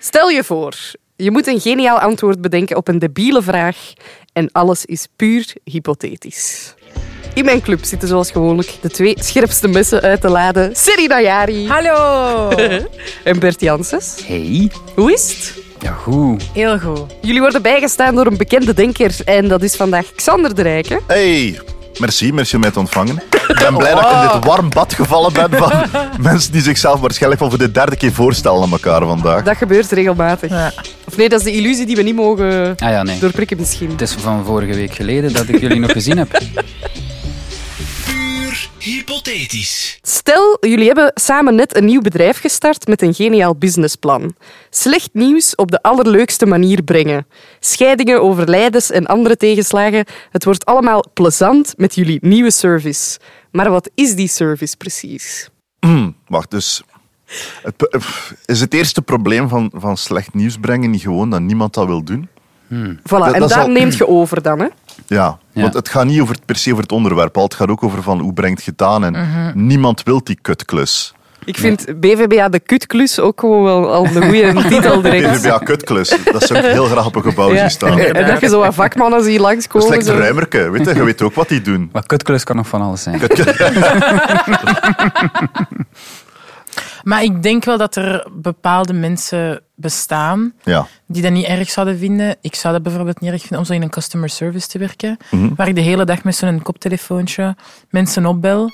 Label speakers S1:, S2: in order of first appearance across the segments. S1: Stel je voor, je moet een geniaal antwoord bedenken op een debiele vraag en alles is puur hypothetisch. In mijn club zitten zoals gewoonlijk de twee scherpste messen uit te laden. Serena Jari
S2: Hallo!
S1: en Bert Janssens.
S3: Hey.
S1: Hoe is het?
S3: Ja, goed.
S2: Heel goed.
S1: Jullie worden bijgestaan door een bekende denker en dat is vandaag Xander de Rijke.
S4: Hey, merci, merci om mij te ontvangen. Ik ben blij dat ik in dit warm bad gevallen ben van mensen die zichzelf waarschijnlijk wel voor de derde keer voorstellen aan elkaar vandaag.
S1: Dat gebeurt regelmatig. Of nee, dat is de illusie die we niet mogen
S3: Ah ja, nee.
S1: doorprikken misschien.
S3: Het is van vorige week geleden dat ik jullie nog gezien heb.
S5: Puur hypothetisch.
S1: Stel, jullie hebben samen net een nieuw bedrijf gestart met een geniaal businessplan. Slecht nieuws op de allerleukste manier brengen. Scheidingen, overlijdens en andere tegenslagen. Het wordt allemaal plezant met jullie nieuwe service. Maar wat is die service precies?
S4: Wacht, dus... Het, pe- is het eerste probleem van, van slecht nieuws brengen niet gewoon dat niemand dat wil doen?
S1: Voilà,
S4: dat
S1: en
S4: is
S1: dat
S4: al-
S1: neemt je over dan, hè?
S4: Ja,
S3: Ja.
S4: want het gaat niet over, het- per se over het onderwerp, al. het gaat ook over van hoe brengt het gedaan en niemand wil die kutklus.
S1: Ik vind BVBA de kutklus ook gewoon wel al een goede titel direct.
S4: BVBA kutklus, dat zou ik heel graag op een gebouw zien staan.
S1: En dat je zo wat vakmannen ziet
S4: Dat is
S1: langskomen.
S4: lekker
S1: zo.
S4: ruimerke, weet je, je weet ook wat die doen.
S3: Maar kutklus kan nog van alles zijn.
S2: Maar ik denk wel dat er bepaalde mensen bestaan
S4: Ja.
S2: die dat niet erg zouden vinden. Ik zou dat bijvoorbeeld niet erg vinden om zo in een customer service te werken, waar ik de hele dag met zo'n koptelefoontje mensen opbel.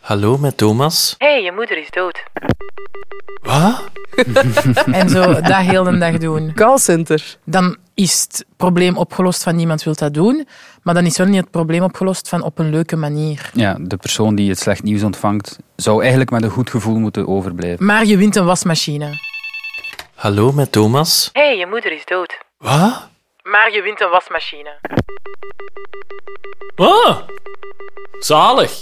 S5: Hallo met Thomas.
S6: Hé, hey, je moeder is dood.
S5: Wat?
S2: En zo dat heel de dag doen.
S1: Callcenter.
S2: Dan is het probleem opgelost van niemand wil dat doen. Maar dan is wel niet het probleem opgelost van op een leuke manier.
S3: Ja, de persoon die het slecht nieuws ontvangt, zou eigenlijk met een goed gevoel moeten overblijven.
S2: Maar je wint een wasmachine.
S5: Hallo met Thomas.
S6: Hé, hey, je moeder is dood.
S5: Wat?
S2: Maar je wint een wasmachine.
S5: Ah, zalig.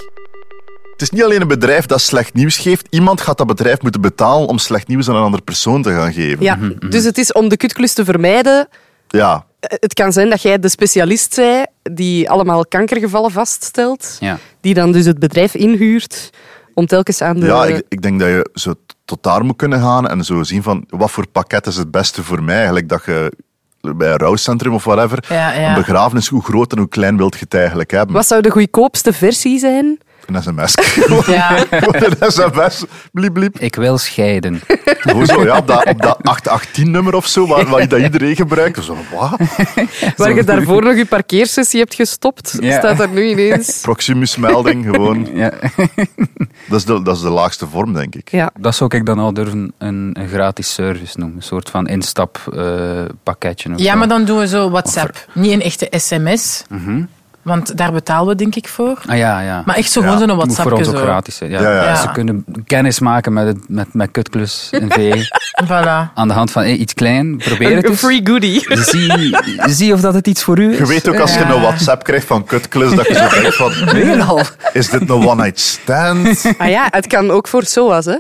S4: Het is niet alleen een bedrijf dat slecht nieuws geeft. Iemand gaat dat bedrijf moeten betalen om slecht nieuws aan een andere persoon te gaan geven.
S1: Ja, dus het is om de kutklus te vermijden.
S4: Ja.
S1: Eh, Het kan zijn dat jij de specialist zij die allemaal kankergevallen vaststelt,
S3: Ja.
S1: die dan dus het bedrijf inhuurt om telkens aan de...
S4: Ja,
S2: eh,
S4: ik, ik denk dat je zo t- tot daar moet kunnen gaan en zo zien van wat voor pakket is het beste voor mij. Eigenlijk dat je bij een rouwcentrum of whatever,
S2: Ja, ja.
S4: een begrafenis, hoe groot en hoe klein wilt je het eigenlijk hebben?
S1: Wat zou de goedkoopste versie zijn?
S4: Een sms. Gewoon
S2: Ja.
S4: een sms. Bliep, bliep.
S3: Ik wil scheiden.
S4: Gewoon zo, ja, op dat, op dat 818-nummer of zo, waar, waar dat iedereen gebruikt. Zo, wat?
S1: Waar je daarvoor nog je parkeersessie hebt gestopt,
S3: Ja.
S1: staat er nu ineens.
S4: Proximus-melding, gewoon.
S3: Ja.
S4: Dat is, de, dat is de laagste vorm, denk ik.
S1: Ja.
S3: Dat zou ik dan al durven een, een gratis service noemen. Een soort van instappakketje.
S2: Ja, maar dan doen we zo WhatsApp. Niet een echte sms. Want daar betalen we denk ik voor.
S3: Ah, ja, ja.
S2: Maar echt zo gewoon zo'n
S3: Het moet voor
S2: WhatsAppje
S3: ons ook
S2: zo.
S3: gratis zijn. Ja.
S4: Ja, ja.
S2: Ja.
S3: Ze kunnen kennis maken met, het, met, met kutklus en V. E.
S2: Voilà.
S3: Aan de hand van eh, iets klein, probeer het
S1: Een
S3: eens.
S1: free goodie.
S3: Zie, zie of dat het iets voor u is.
S4: Je weet ook als je
S2: Ja.
S4: een WhatsApp krijgt van kutklus, dat je zo denkt van...
S3: Weer al.
S4: Is dit een one-night stand?
S1: Ah ja, het kan ook voor SOA's, hè.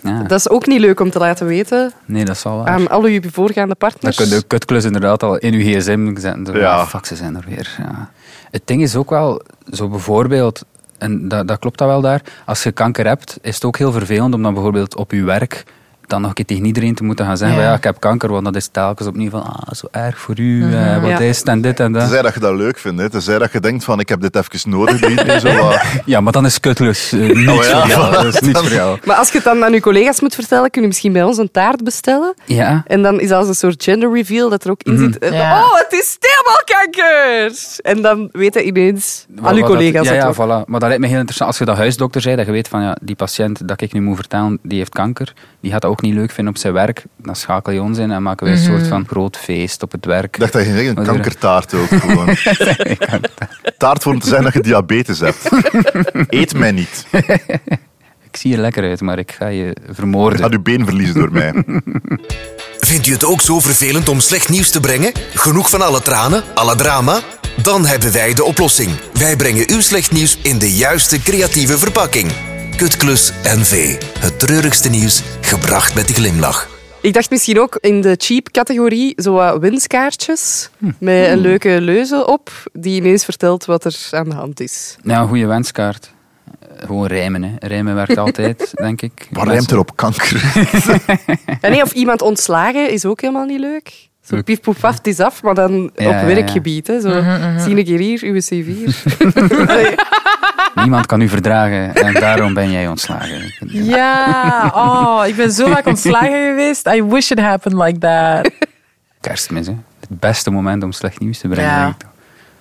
S3: Ja.
S1: Dat Ah, is ook niet leuk om te laten weten
S3: Nee, dat zal wel.
S1: aan al uw voorgaande
S3: Dan
S1: partners.
S3: kun je de kutklus inderdaad al in je gsm zetten. Zo,
S4: Ja.
S3: ah, Fuck, ze zijn er weer. Ja. Het ding is ook wel, zo bijvoorbeeld, en dat, dat klopt dat wel daar, als je kanker hebt, is het ook heel vervelend om dan bijvoorbeeld op je werk dan nog een keer tegen iedereen te moeten gaan zeggen
S2: Ja.
S3: van ja, ik heb kanker, want dat is telkens opnieuw van ah, zo erg voor u, eh, wat
S1: Mhm. Ja.
S3: is het en dit en dat.
S4: Tenzij dat je dat leuk vindt, hè. Tenzij dat je denkt van, ik heb dit even nodig. die iedereen zo wat-
S3: Ja, maar dan is kutklus eh, niets
S4: Oh ja.
S3: voor jou. Dat is niets voor jou.
S1: Maar als je het dan aan je collega's moet vertellen, kun je misschien bij ons een taart bestellen.
S3: Ja.
S1: En dan is dat als een soort gender reveal dat er ook
S3: Mhm.
S1: in zit. En dan,
S2: Ja.
S1: Oh, het is stemmelkanker! En dan weten ineens al uw
S3: Wat- wat
S1: collega's
S3: dat, ja,
S1: dat
S3: ja,
S1: ook.
S3: voilà. Maar dat lijkt me heel interessant. Als je dat huisdokter zei, dat je weet van ja, die patiënt dat ik nu moet vertellen, die heeft kanker. Die gaat dat ook niet leuk vinden op zijn werk. Dan schakel je ons in en maken wij een
S1: Mhm.
S3: soort van groot feest op het werk.
S4: Ik dacht dat je ging zeggen, een kankertaart ook gewoon. Taart voor om te zeggen dat je diabetes hebt. Eet mij niet.
S3: Ik zie er lekker uit, maar ik ga je
S4: Ik ga
S3: vermoorden.
S4: je been verliezen door mij.
S7: Vindt u het ook zo vervelend om slecht nieuws te brengen? Genoeg van alle tranen, alle drama? Dan hebben wij de oplossing. Wij brengen uw slecht nieuws in de juiste creatieve verpakking. Kutklus NV. Het treurigste nieuws, gebracht met de glimlach.
S1: Ik dacht misschien ook in de cheap-categorie zo wat winstkaartjes
S3: Hm.
S1: met een leuke leuze op die ineens vertelt wat er aan de hand is.
S3: Ja, een goede Nou, wenskaart. Eh, Gewoon rijmen, hè. Rijmen werkt altijd, denk ik.
S4: Wat rijmt er op kanker?
S1: En nee, of iemand ontslagen is ook helemaal niet leuk. Zo
S3: Leuk.
S1: pief poef paf, het is af, maar dan
S3: Ja, ja,
S1: op
S3: ja.
S1: werkgebied. Hè, zo. Zie een keer hier, uw cv hier.
S3: Niemand kan u verdragen en daarom ben jij ontslagen.
S2: Ja, oh, ik ben zo vaak ontslagen geweest. I wish it happened like that.
S3: Kerstmis, hè. Het beste moment om slecht nieuws te brengen,
S2: Ja.
S3: denk ik toch.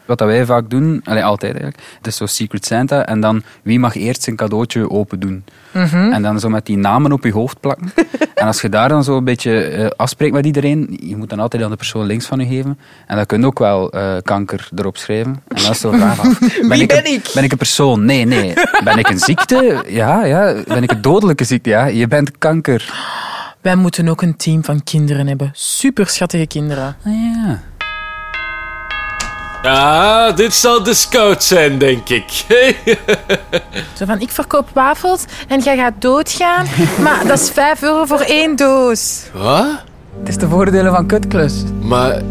S3: Wat dat wij vaak doen, allee, altijd eigenlijk, het is zo Secret Santa en dan wie mag eerst zijn cadeautje open doen.
S1: Mhm.
S3: En dan zo met die namen op je hoofd plakken. en als je daar dan zo een beetje eh, afspreekt met iedereen, je moet dan altijd aan de persoon links van je geven. En dan kun je ook wel eh, kanker erop schrijven. En dan is zo de vraag af, ben
S1: Wie
S3: ik
S1: ben
S3: een-
S1: ik?
S3: Ben ik een persoon? Nee, nee. Ben ik een ziekte? Ja, ja. Ben ik een dodelijke ziekte? Ja, je bent kanker.
S2: Wij moeten ook een team van kinderen hebben. Super schattige kinderen.
S3: Ah, ja.
S5: Ah, dit zal de scout zijn, denk ik.
S2: Zo van, ik verkoop wafels en jij gaat doodgaan. Maar dat is 5 euro voor één doos.
S5: Wat?
S3: Het is de voordelen van kutklus.
S5: Maar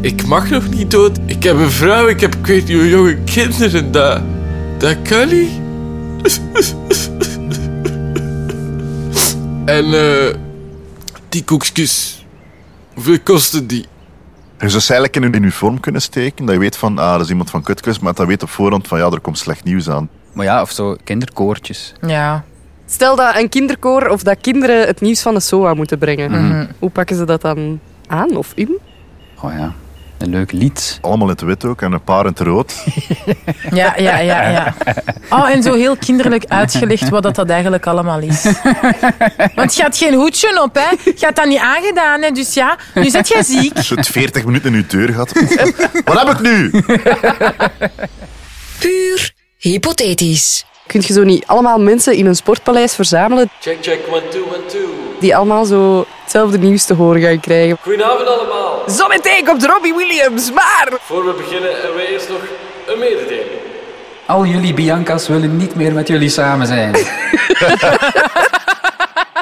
S5: ik mag nog niet dood. Ik heb een vrouw, ik heb ik weet niet hoe jonge kinderen. Dat, dat kan niet. en eh die koekjes, hoeveel kosten die?
S4: Je zou ze eigenlijk in hun uniform kunnen steken. Dat je weet van, ah, dat is iemand van Kutklus, maar dat weet op voorhand van, ja, er komt slecht nieuws aan.
S3: Maar ja, of zo kinderkoortjes.
S2: Ja.
S1: Stel dat een kinderkoor of dat kinderen het nieuws van de SOA moeten brengen. Hoe pakken ze dat dan aan of in?
S3: Oh ja, een leuk lied.
S4: Allemaal in het wit ook en een paar in het rood.
S2: Ja, ja, ja, ja. Oh, en zo heel kinderlijk uitgelegd wat dat, dat eigenlijk allemaal is. Want je had geen hoedje op, hè. Je had dat niet aangedaan, hè. Dus ja, nu zit jij ziek.
S4: Als je het 40 minuten in je deur gaat. Wat heb ik nu?
S8: Puur hypothetisch.
S1: Kun je zo niet allemaal mensen in een sportpaleis verzamelen
S5: Check, check, one, two, one, two.
S1: die allemaal zo hetzelfde nieuws te horen gaan krijgen?
S5: Goedenavond allemaal.
S1: Zometeen komt Robbie Williams, maar...
S5: Voor we beginnen hebben we eerst nog een mededeling.
S3: Al jullie Biancas willen niet meer met jullie samen zijn.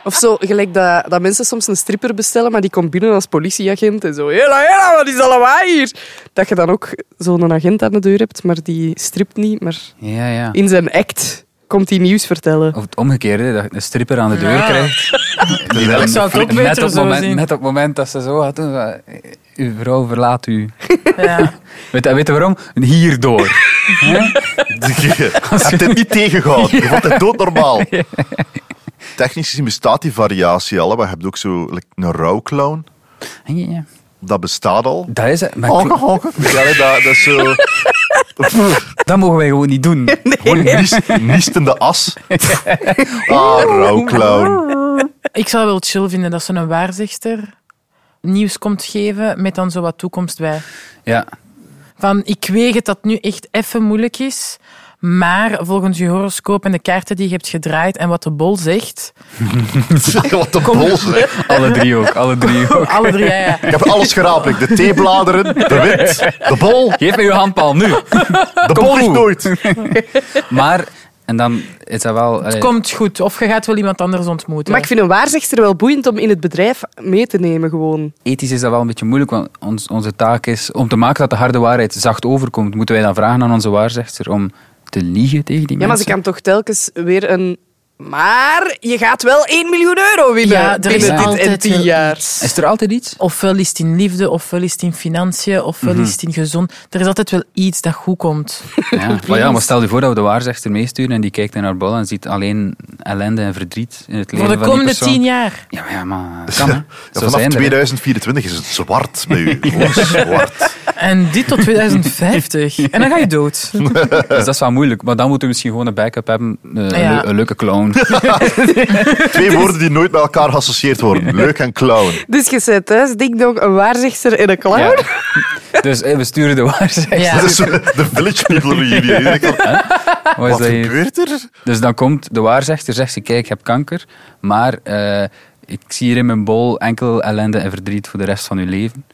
S1: Of zo, gelijk dat, dat mensen soms een stripper bestellen, maar die komt binnen als politieagent en zo. Hela, hela, wat is allemaal hier? Dat je dan ook zo'n agent aan de deur hebt, maar die stript niet, maar
S3: ja, ja.
S1: in zijn act komt hij nieuws vertellen.
S3: Of het omgekeerde, dat je een stripper aan de deur krijgt. Die dan
S2: Ik zou het ook
S3: net
S2: beter
S3: op
S2: zo
S3: moment,
S2: zien.
S3: Net op het moment dat ze zo had doen, van, uw vrouw verlaat u.
S2: Ja.
S3: Weet, je- weet je waarom? Hierdoor.
S4: Je hebt dit niet tegengehouden. Je vond het doodnormaal. Technisch gezien bestaat die variatie al. hè. Maar je hebt ook zo like, een rouwclown.
S3: Ja, ja. Oh.
S4: Dat bestaat al.
S3: Dat is het. Maar ik-
S4: Honken, honken. Ja, nee, dat, dat is zo...
S3: dat mogen wij gewoon niet doen.
S4: Gewoon niest, niestende as. Ah, rouwclown.
S2: Ik zou wel chill vinden dat zo'n waarzegster nieuws komt geven met dan zo wat toekomst bij.
S3: Ja.
S2: Van, ik weet het dat het nu echt even moeilijk is, maar volgens je horoscoop en de kaarten die je hebt gedraaid en wat de bol zegt...
S4: Wat een bol, zeg.
S3: Alle drie ook, alle drie ook.
S2: Alle drie, ja, ja.
S4: Ik heb alles geraapt. De theebladeren, de wind, de bol.
S3: Geef mij uw handpal, nu.
S4: De bol is
S3: goed.
S4: nooit.
S3: Maar, en dan is dat wel... eh, allee,
S2: Komt goed. Of je gaat wel iemand anders ontmoeten.
S1: Maar ik vind een waarzegster wel boeiend om in het bedrijf mee te nemen gewoon.
S3: ethisch is dat wel een beetje moeilijk, want ons, onze taak is om te maken dat de harde waarheid zacht overkomt, moeten wij dan vragen aan onze waarzegster om te liegen tegen die
S1: Ja, maar ze
S3: mensen.
S1: kan toch telkens weer een... Maar je gaat wel 1 miljoen euro winnen
S2: Ja, er is
S1: binnen dit en
S2: altijd
S1: 10
S2: wel
S1: jaar.
S3: Is er altijd iets?
S2: Ofwel is het in liefde, ofwel is het in financiën, ofwel
S1: Mhm.
S2: is het in gezond. Er is altijd wel iets dat goed komt.
S3: Ja. Maar, ja, maar stel je voor dat we de waarzegster meesturen en die kijkt in haar bol en ziet alleen ellende en verdriet in het leven
S2: Voor de
S3: van die
S2: komende
S3: persoon.
S2: tien jaar.
S3: Ja, maar, ja, maar dat kan, hè. Zo
S4: Ja, vanaf
S3: zijn er, hè.
S4: 2024 is het zwart bij u. Gewoon zwart.
S2: En dit tot 2050. En dan ga je dood.
S3: Dus
S4: eh.
S3: dat is wel moeilijk. Maar dan moeten we misschien gewoon een backup hebben. eh,
S2: Ja.
S3: een, leu- een leuke clown.
S4: Twee woorden die nooit met elkaar geassocieerd worden. Leuk en clown.
S1: Dus je zet thuis, ding dong, een waarzegster en een clown.
S3: Ja. Dus eh, we sturen de waarzegster.
S2: Ja.
S4: Dat is zo de Village People reunion. Je denkt van,
S3: Wat is
S4: Wat
S3: dat hier?
S4: gebeurt er?
S3: Dus dan komt de waarzegster, zegt ze, kijk, ik heb kanker, maar eh, ik zie hier in mijn bol enkel ellende en verdriet voor de rest van uw leven.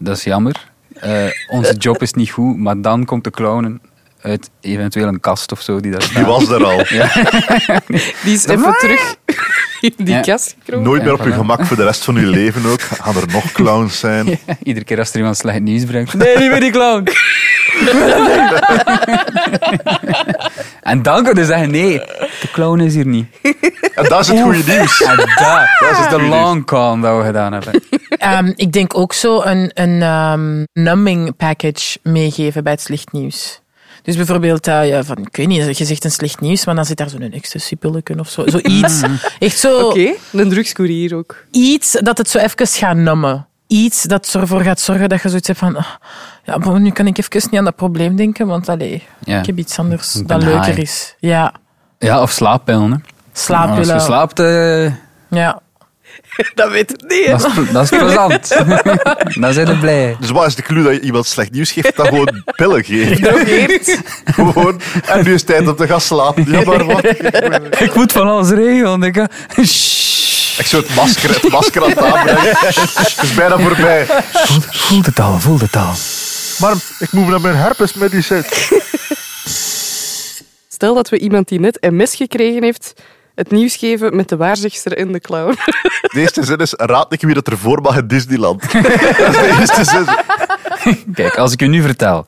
S3: Dat is jammer. Eh, onze job is niet goed, maar dan komt de clownen uit eventueel een kast of zo die daar staat.
S4: Die was er al.
S1: Die is even terug in die
S3: Ja.
S1: kast gekropen.
S4: Nooit meer op
S3: Ja,
S4: je
S3: voilà.
S4: gemak voor de rest van je leven ook. Gaan er nog clowns zijn?
S3: Iedere keer als er iemand slecht nieuws brengt.
S2: Nee, niet meer die clown.
S3: En dan kun je zeggen, nee, de clown is hier niet.
S4: En dat is het goede nieuws.
S3: En dat,
S4: is
S3: is
S4: het
S3: de
S4: nieuws.
S3: long con dat we gedaan hebben.
S2: Ehm, ik denk ook zo een, een ehm, numbing package meegeven bij het slecht nieuws. Dus bijvoorbeeld, eh, ja, van, ik weet niet, je zegt een slecht nieuws, maar dan zit daar zo'n ecstasy-pilletje of zo. Zoiets.
S3: Mm.
S2: Echt zo
S1: Oké, Oh. een drugscourier ook.
S2: iets dat het zo even gaat nummen. Iets dat ervoor gaat zorgen dat je zoiets hebt van... ah, ja, maar nu kan ik even niet aan dat probleem denken, want allee,
S3: Ja.
S2: ik heb iets anders
S3: Ik
S2: dat
S3: ben
S2: leuker
S3: high.
S2: is. Ja,
S3: Ja, of slaappillen. hè. Nou, Als je
S2: slaappillen.
S3: slaapt, eh,
S2: Ja.
S1: Dat weet het niet.
S3: dat, is, dat is plezant. dan zijn we blij.
S4: Dus wat is de clue dat je iemand slecht nieuws geeft? Dat gewoon pillen geeft. Gewoon, en nu is het tijd om te gaan slapen. Ja, maar wat?
S3: Ik moet van alles regelen. Ik, eh, ga- Shh.
S4: Ik zou het masker, het masker aan het aanbrengen. Het is bijna voorbij.
S3: Voel de taal, voel de taal.
S4: Maar ik moet naar mijn herpesmedicijn.
S1: Stel dat we iemand die net MS gekregen heeft, het nieuws geven met de waarzegster in de clown.
S4: De eerste zin is, raad ik wie dat ervoor mag in Disneyland. Dat is de eerste zin.
S3: Kijk, als ik u nu vertel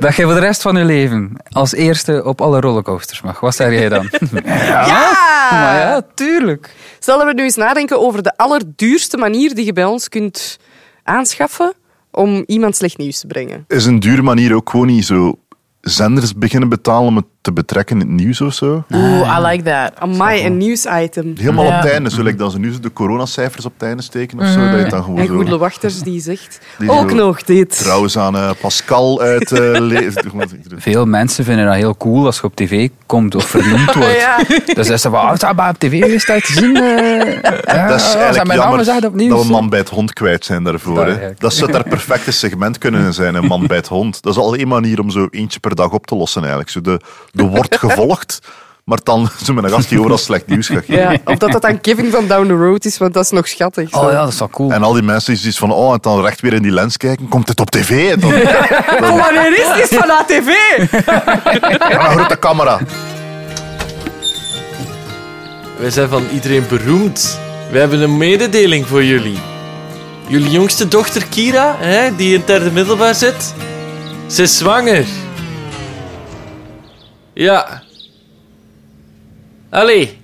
S3: dat jij voor de rest van je leven als eerste op alle rollercoasters mag, wat zeg jij dan? Ja! Ah, Maar ja, tuurlijk.
S1: Stel dat we nu eens nadenken over de allerduurste manier die je bij ons kunt aanschaffen om iemand slecht nieuws te brengen.
S4: Is een dure manier ook gewoon niet zo zenders beginnen betalen om het te betrekken in het nieuws of zo?
S3: Ah,
S2: Oeh, I like that.
S1: Amai, een nieuwsitem.
S4: Helemaal
S2: Ja.
S4: op het einde. Zul ik dan zo nu zo de coronacijfers op het einde steken of zo? Dat je het dan
S1: En
S4: gewoon
S1: Goedele
S4: zo...
S1: Wachters die zegt
S4: Die
S1: ook
S4: zo-
S1: nog dit.
S4: Trouwens aan eh, Pascal uit... eh, le-
S3: Veel mensen vinden dat heel cool als je op tv komt of vernoemd wordt.
S1: Ja.
S3: Dus is ze van, oh, dat maar op tv is dat te zien. eh, eh,
S4: Dat is
S3: als
S4: eigenlijk
S3: mijn
S4: jammer
S3: naam zegt opnieuw.
S4: dat we man bij het hond kwijt zijn daarvoor.
S3: Dat
S4: hè.
S3: eigenlijk.
S4: Dat zou daar perfecte segment kunnen zijn, een man bij het hond. Dat is al één manier om zo eentje per dag op te lossen eigenlijk. Zo de, de wordt gevolgd, maar dan zo met een gast die overal slecht nieuws gaat geven.
S1: Ja, of dat dat dan Kevin van Down the Road is, want dat is nog schattig.
S3: Oh ja, dat is wel cool.
S4: En al die mensen die zoiets van, oh, en dan recht weer in die lens kijken, komt het op tv? En dan, ja,
S1: Kom maar, er is iets van ATV!
S4: een grote camera.
S5: Wij zijn van iedereen beroemd. Wij hebben een mededeling voor jullie. Jullie jongste dochter Kira, hè, die in het derde middelbaar zit, ze is zwanger. Ja. Allee.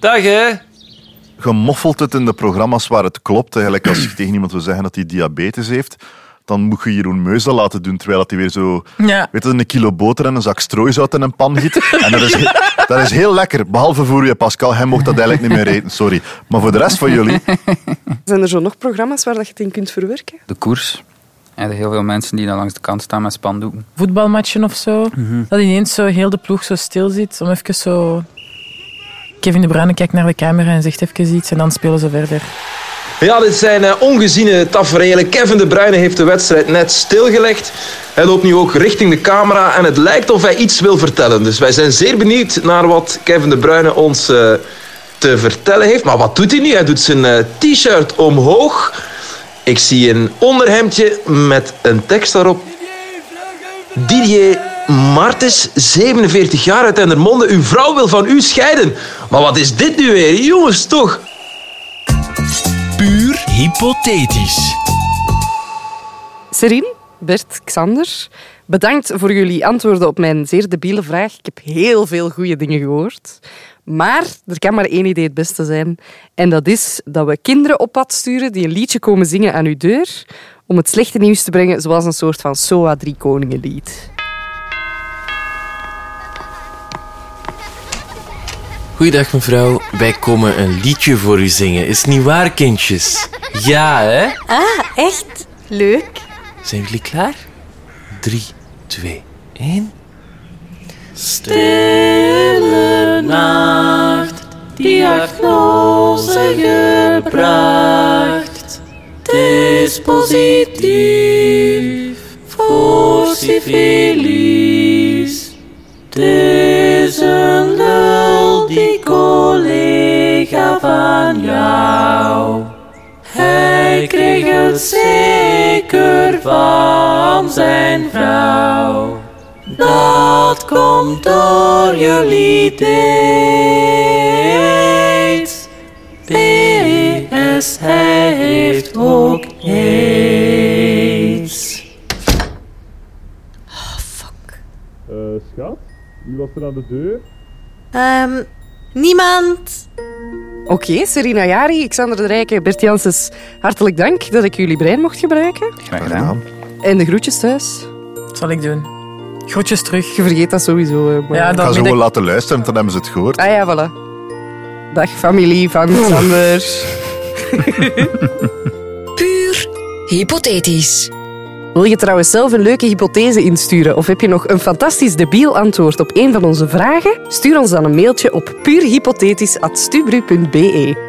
S5: Dag hè.
S4: Gemoffeld het in de programma's waar het klopt. Eigenlijk als je tegen iemand wil zeggen dat hij diabetes heeft, dan moet je Jeroen Meuze laten doen, terwijl dat hij weer zo...
S2: Ja.
S4: Weet je, een kilo boter en een zak strooizout in een pan giet. En dat is, he- dat is heel lekker. Behalve voor je Pascal. Hij mocht dat eigenlijk niet meer eten, sorry. Maar voor de rest van jullie...
S1: Zijn er zo nog programma's waar dat je het in kunt verwerken?
S3: De koers. En er heel veel mensen die dan langs de kant staan met spandoeken.
S2: voetbalmatchen of zo.
S4: Mhm.
S2: Dat ineens zo heel de ploeg zo stil zit. Om even zo... Kevin De Bruyne kijkt naar de camera en zegt even iets. En dan spelen ze verder.
S9: Ja, dit zijn eh, ongeziene tafereelen. Kevin De Bruyne heeft de wedstrijd net stilgelegd. Hij loopt nu ook richting de camera en het lijkt of hij iets wil vertellen. Dus wij zijn zeer benieuwd naar wat Kevin De Bruyne ons eh, te vertellen heeft. Maar wat doet hij nu? Hij doet zijn eh, t-shirt omhoog. Ik zie een onderhemdje met een tekst daarop. Didier Martens, 47 jaar uit Endermonde. Uw vrouw wil van u scheiden. Maar wat is dit nu weer? Jongens, toch?
S10: Puur hypothetisch.
S1: Serin, Bert, Xander, bedankt voor jullie antwoorden op mijn zeer debiele vraag. Ik heb heel veel goede dingen gehoord. Maar er kan maar één idee het beste zijn. En dat is dat we kinderen op pad sturen die een liedje komen zingen aan uw deur om het slechte nieuws te brengen, zoals een soort van SOA Drie Koningen lied.
S5: Goeiedag mevrouw, wij komen een liedje voor u zingen. Is het niet waar kindjes? Ja hè?
S11: Echt leuk.
S5: Zijn jullie klaar? 3, 2, 1. Stille nacht, diagnose gebracht. Het is positief voor syfilis. Het is een lul, die collega van jou. Hij kreeg het zeker van zijn vrouw. Dat komt door jullie dates. PS, hij heeft ook aids.
S12: schat, Wie was er aan de deur?
S11: Ehm, niemand.
S1: Oké, Serena Jari, Xander de Rijke, Bert Janssens, hartelijk dank dat ik jullie brein mocht gebruiken.
S3: Graag gedaan.
S1: En de groetjes thuis.
S2: Dat zal ik doen. Groetjes terug.
S1: Je vergeet dat sowieso. hè, Maar...
S2: Ja,
S4: Ik
S2: dan
S4: ga ze
S2: ben
S4: gewoon
S2: ik-
S4: laten luisteren, dan hebben ze het gehoord.
S1: Ah ja, voilà. Dag familie van Xander.
S8: Puur hypothetisch.
S1: Wil je trouwens zelf een leuke hypothese insturen of heb je nog een fantastisch debiel antwoord op een van onze vragen? Stuur ons dan een mailtje op puurhypothetisch.stubru.be.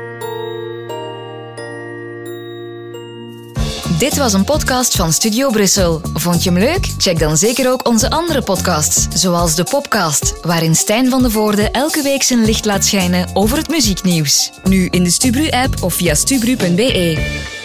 S8: Dit was een podcast van Studio Brussel. Vond je hem leuk? Check dan zeker ook onze andere podcasts, zoals de Popcast, waarin Stijn van de Voorde elke week zijn licht laat schijnen over het muzieknieuws. Nu in de Stubru-app of via stubru.be.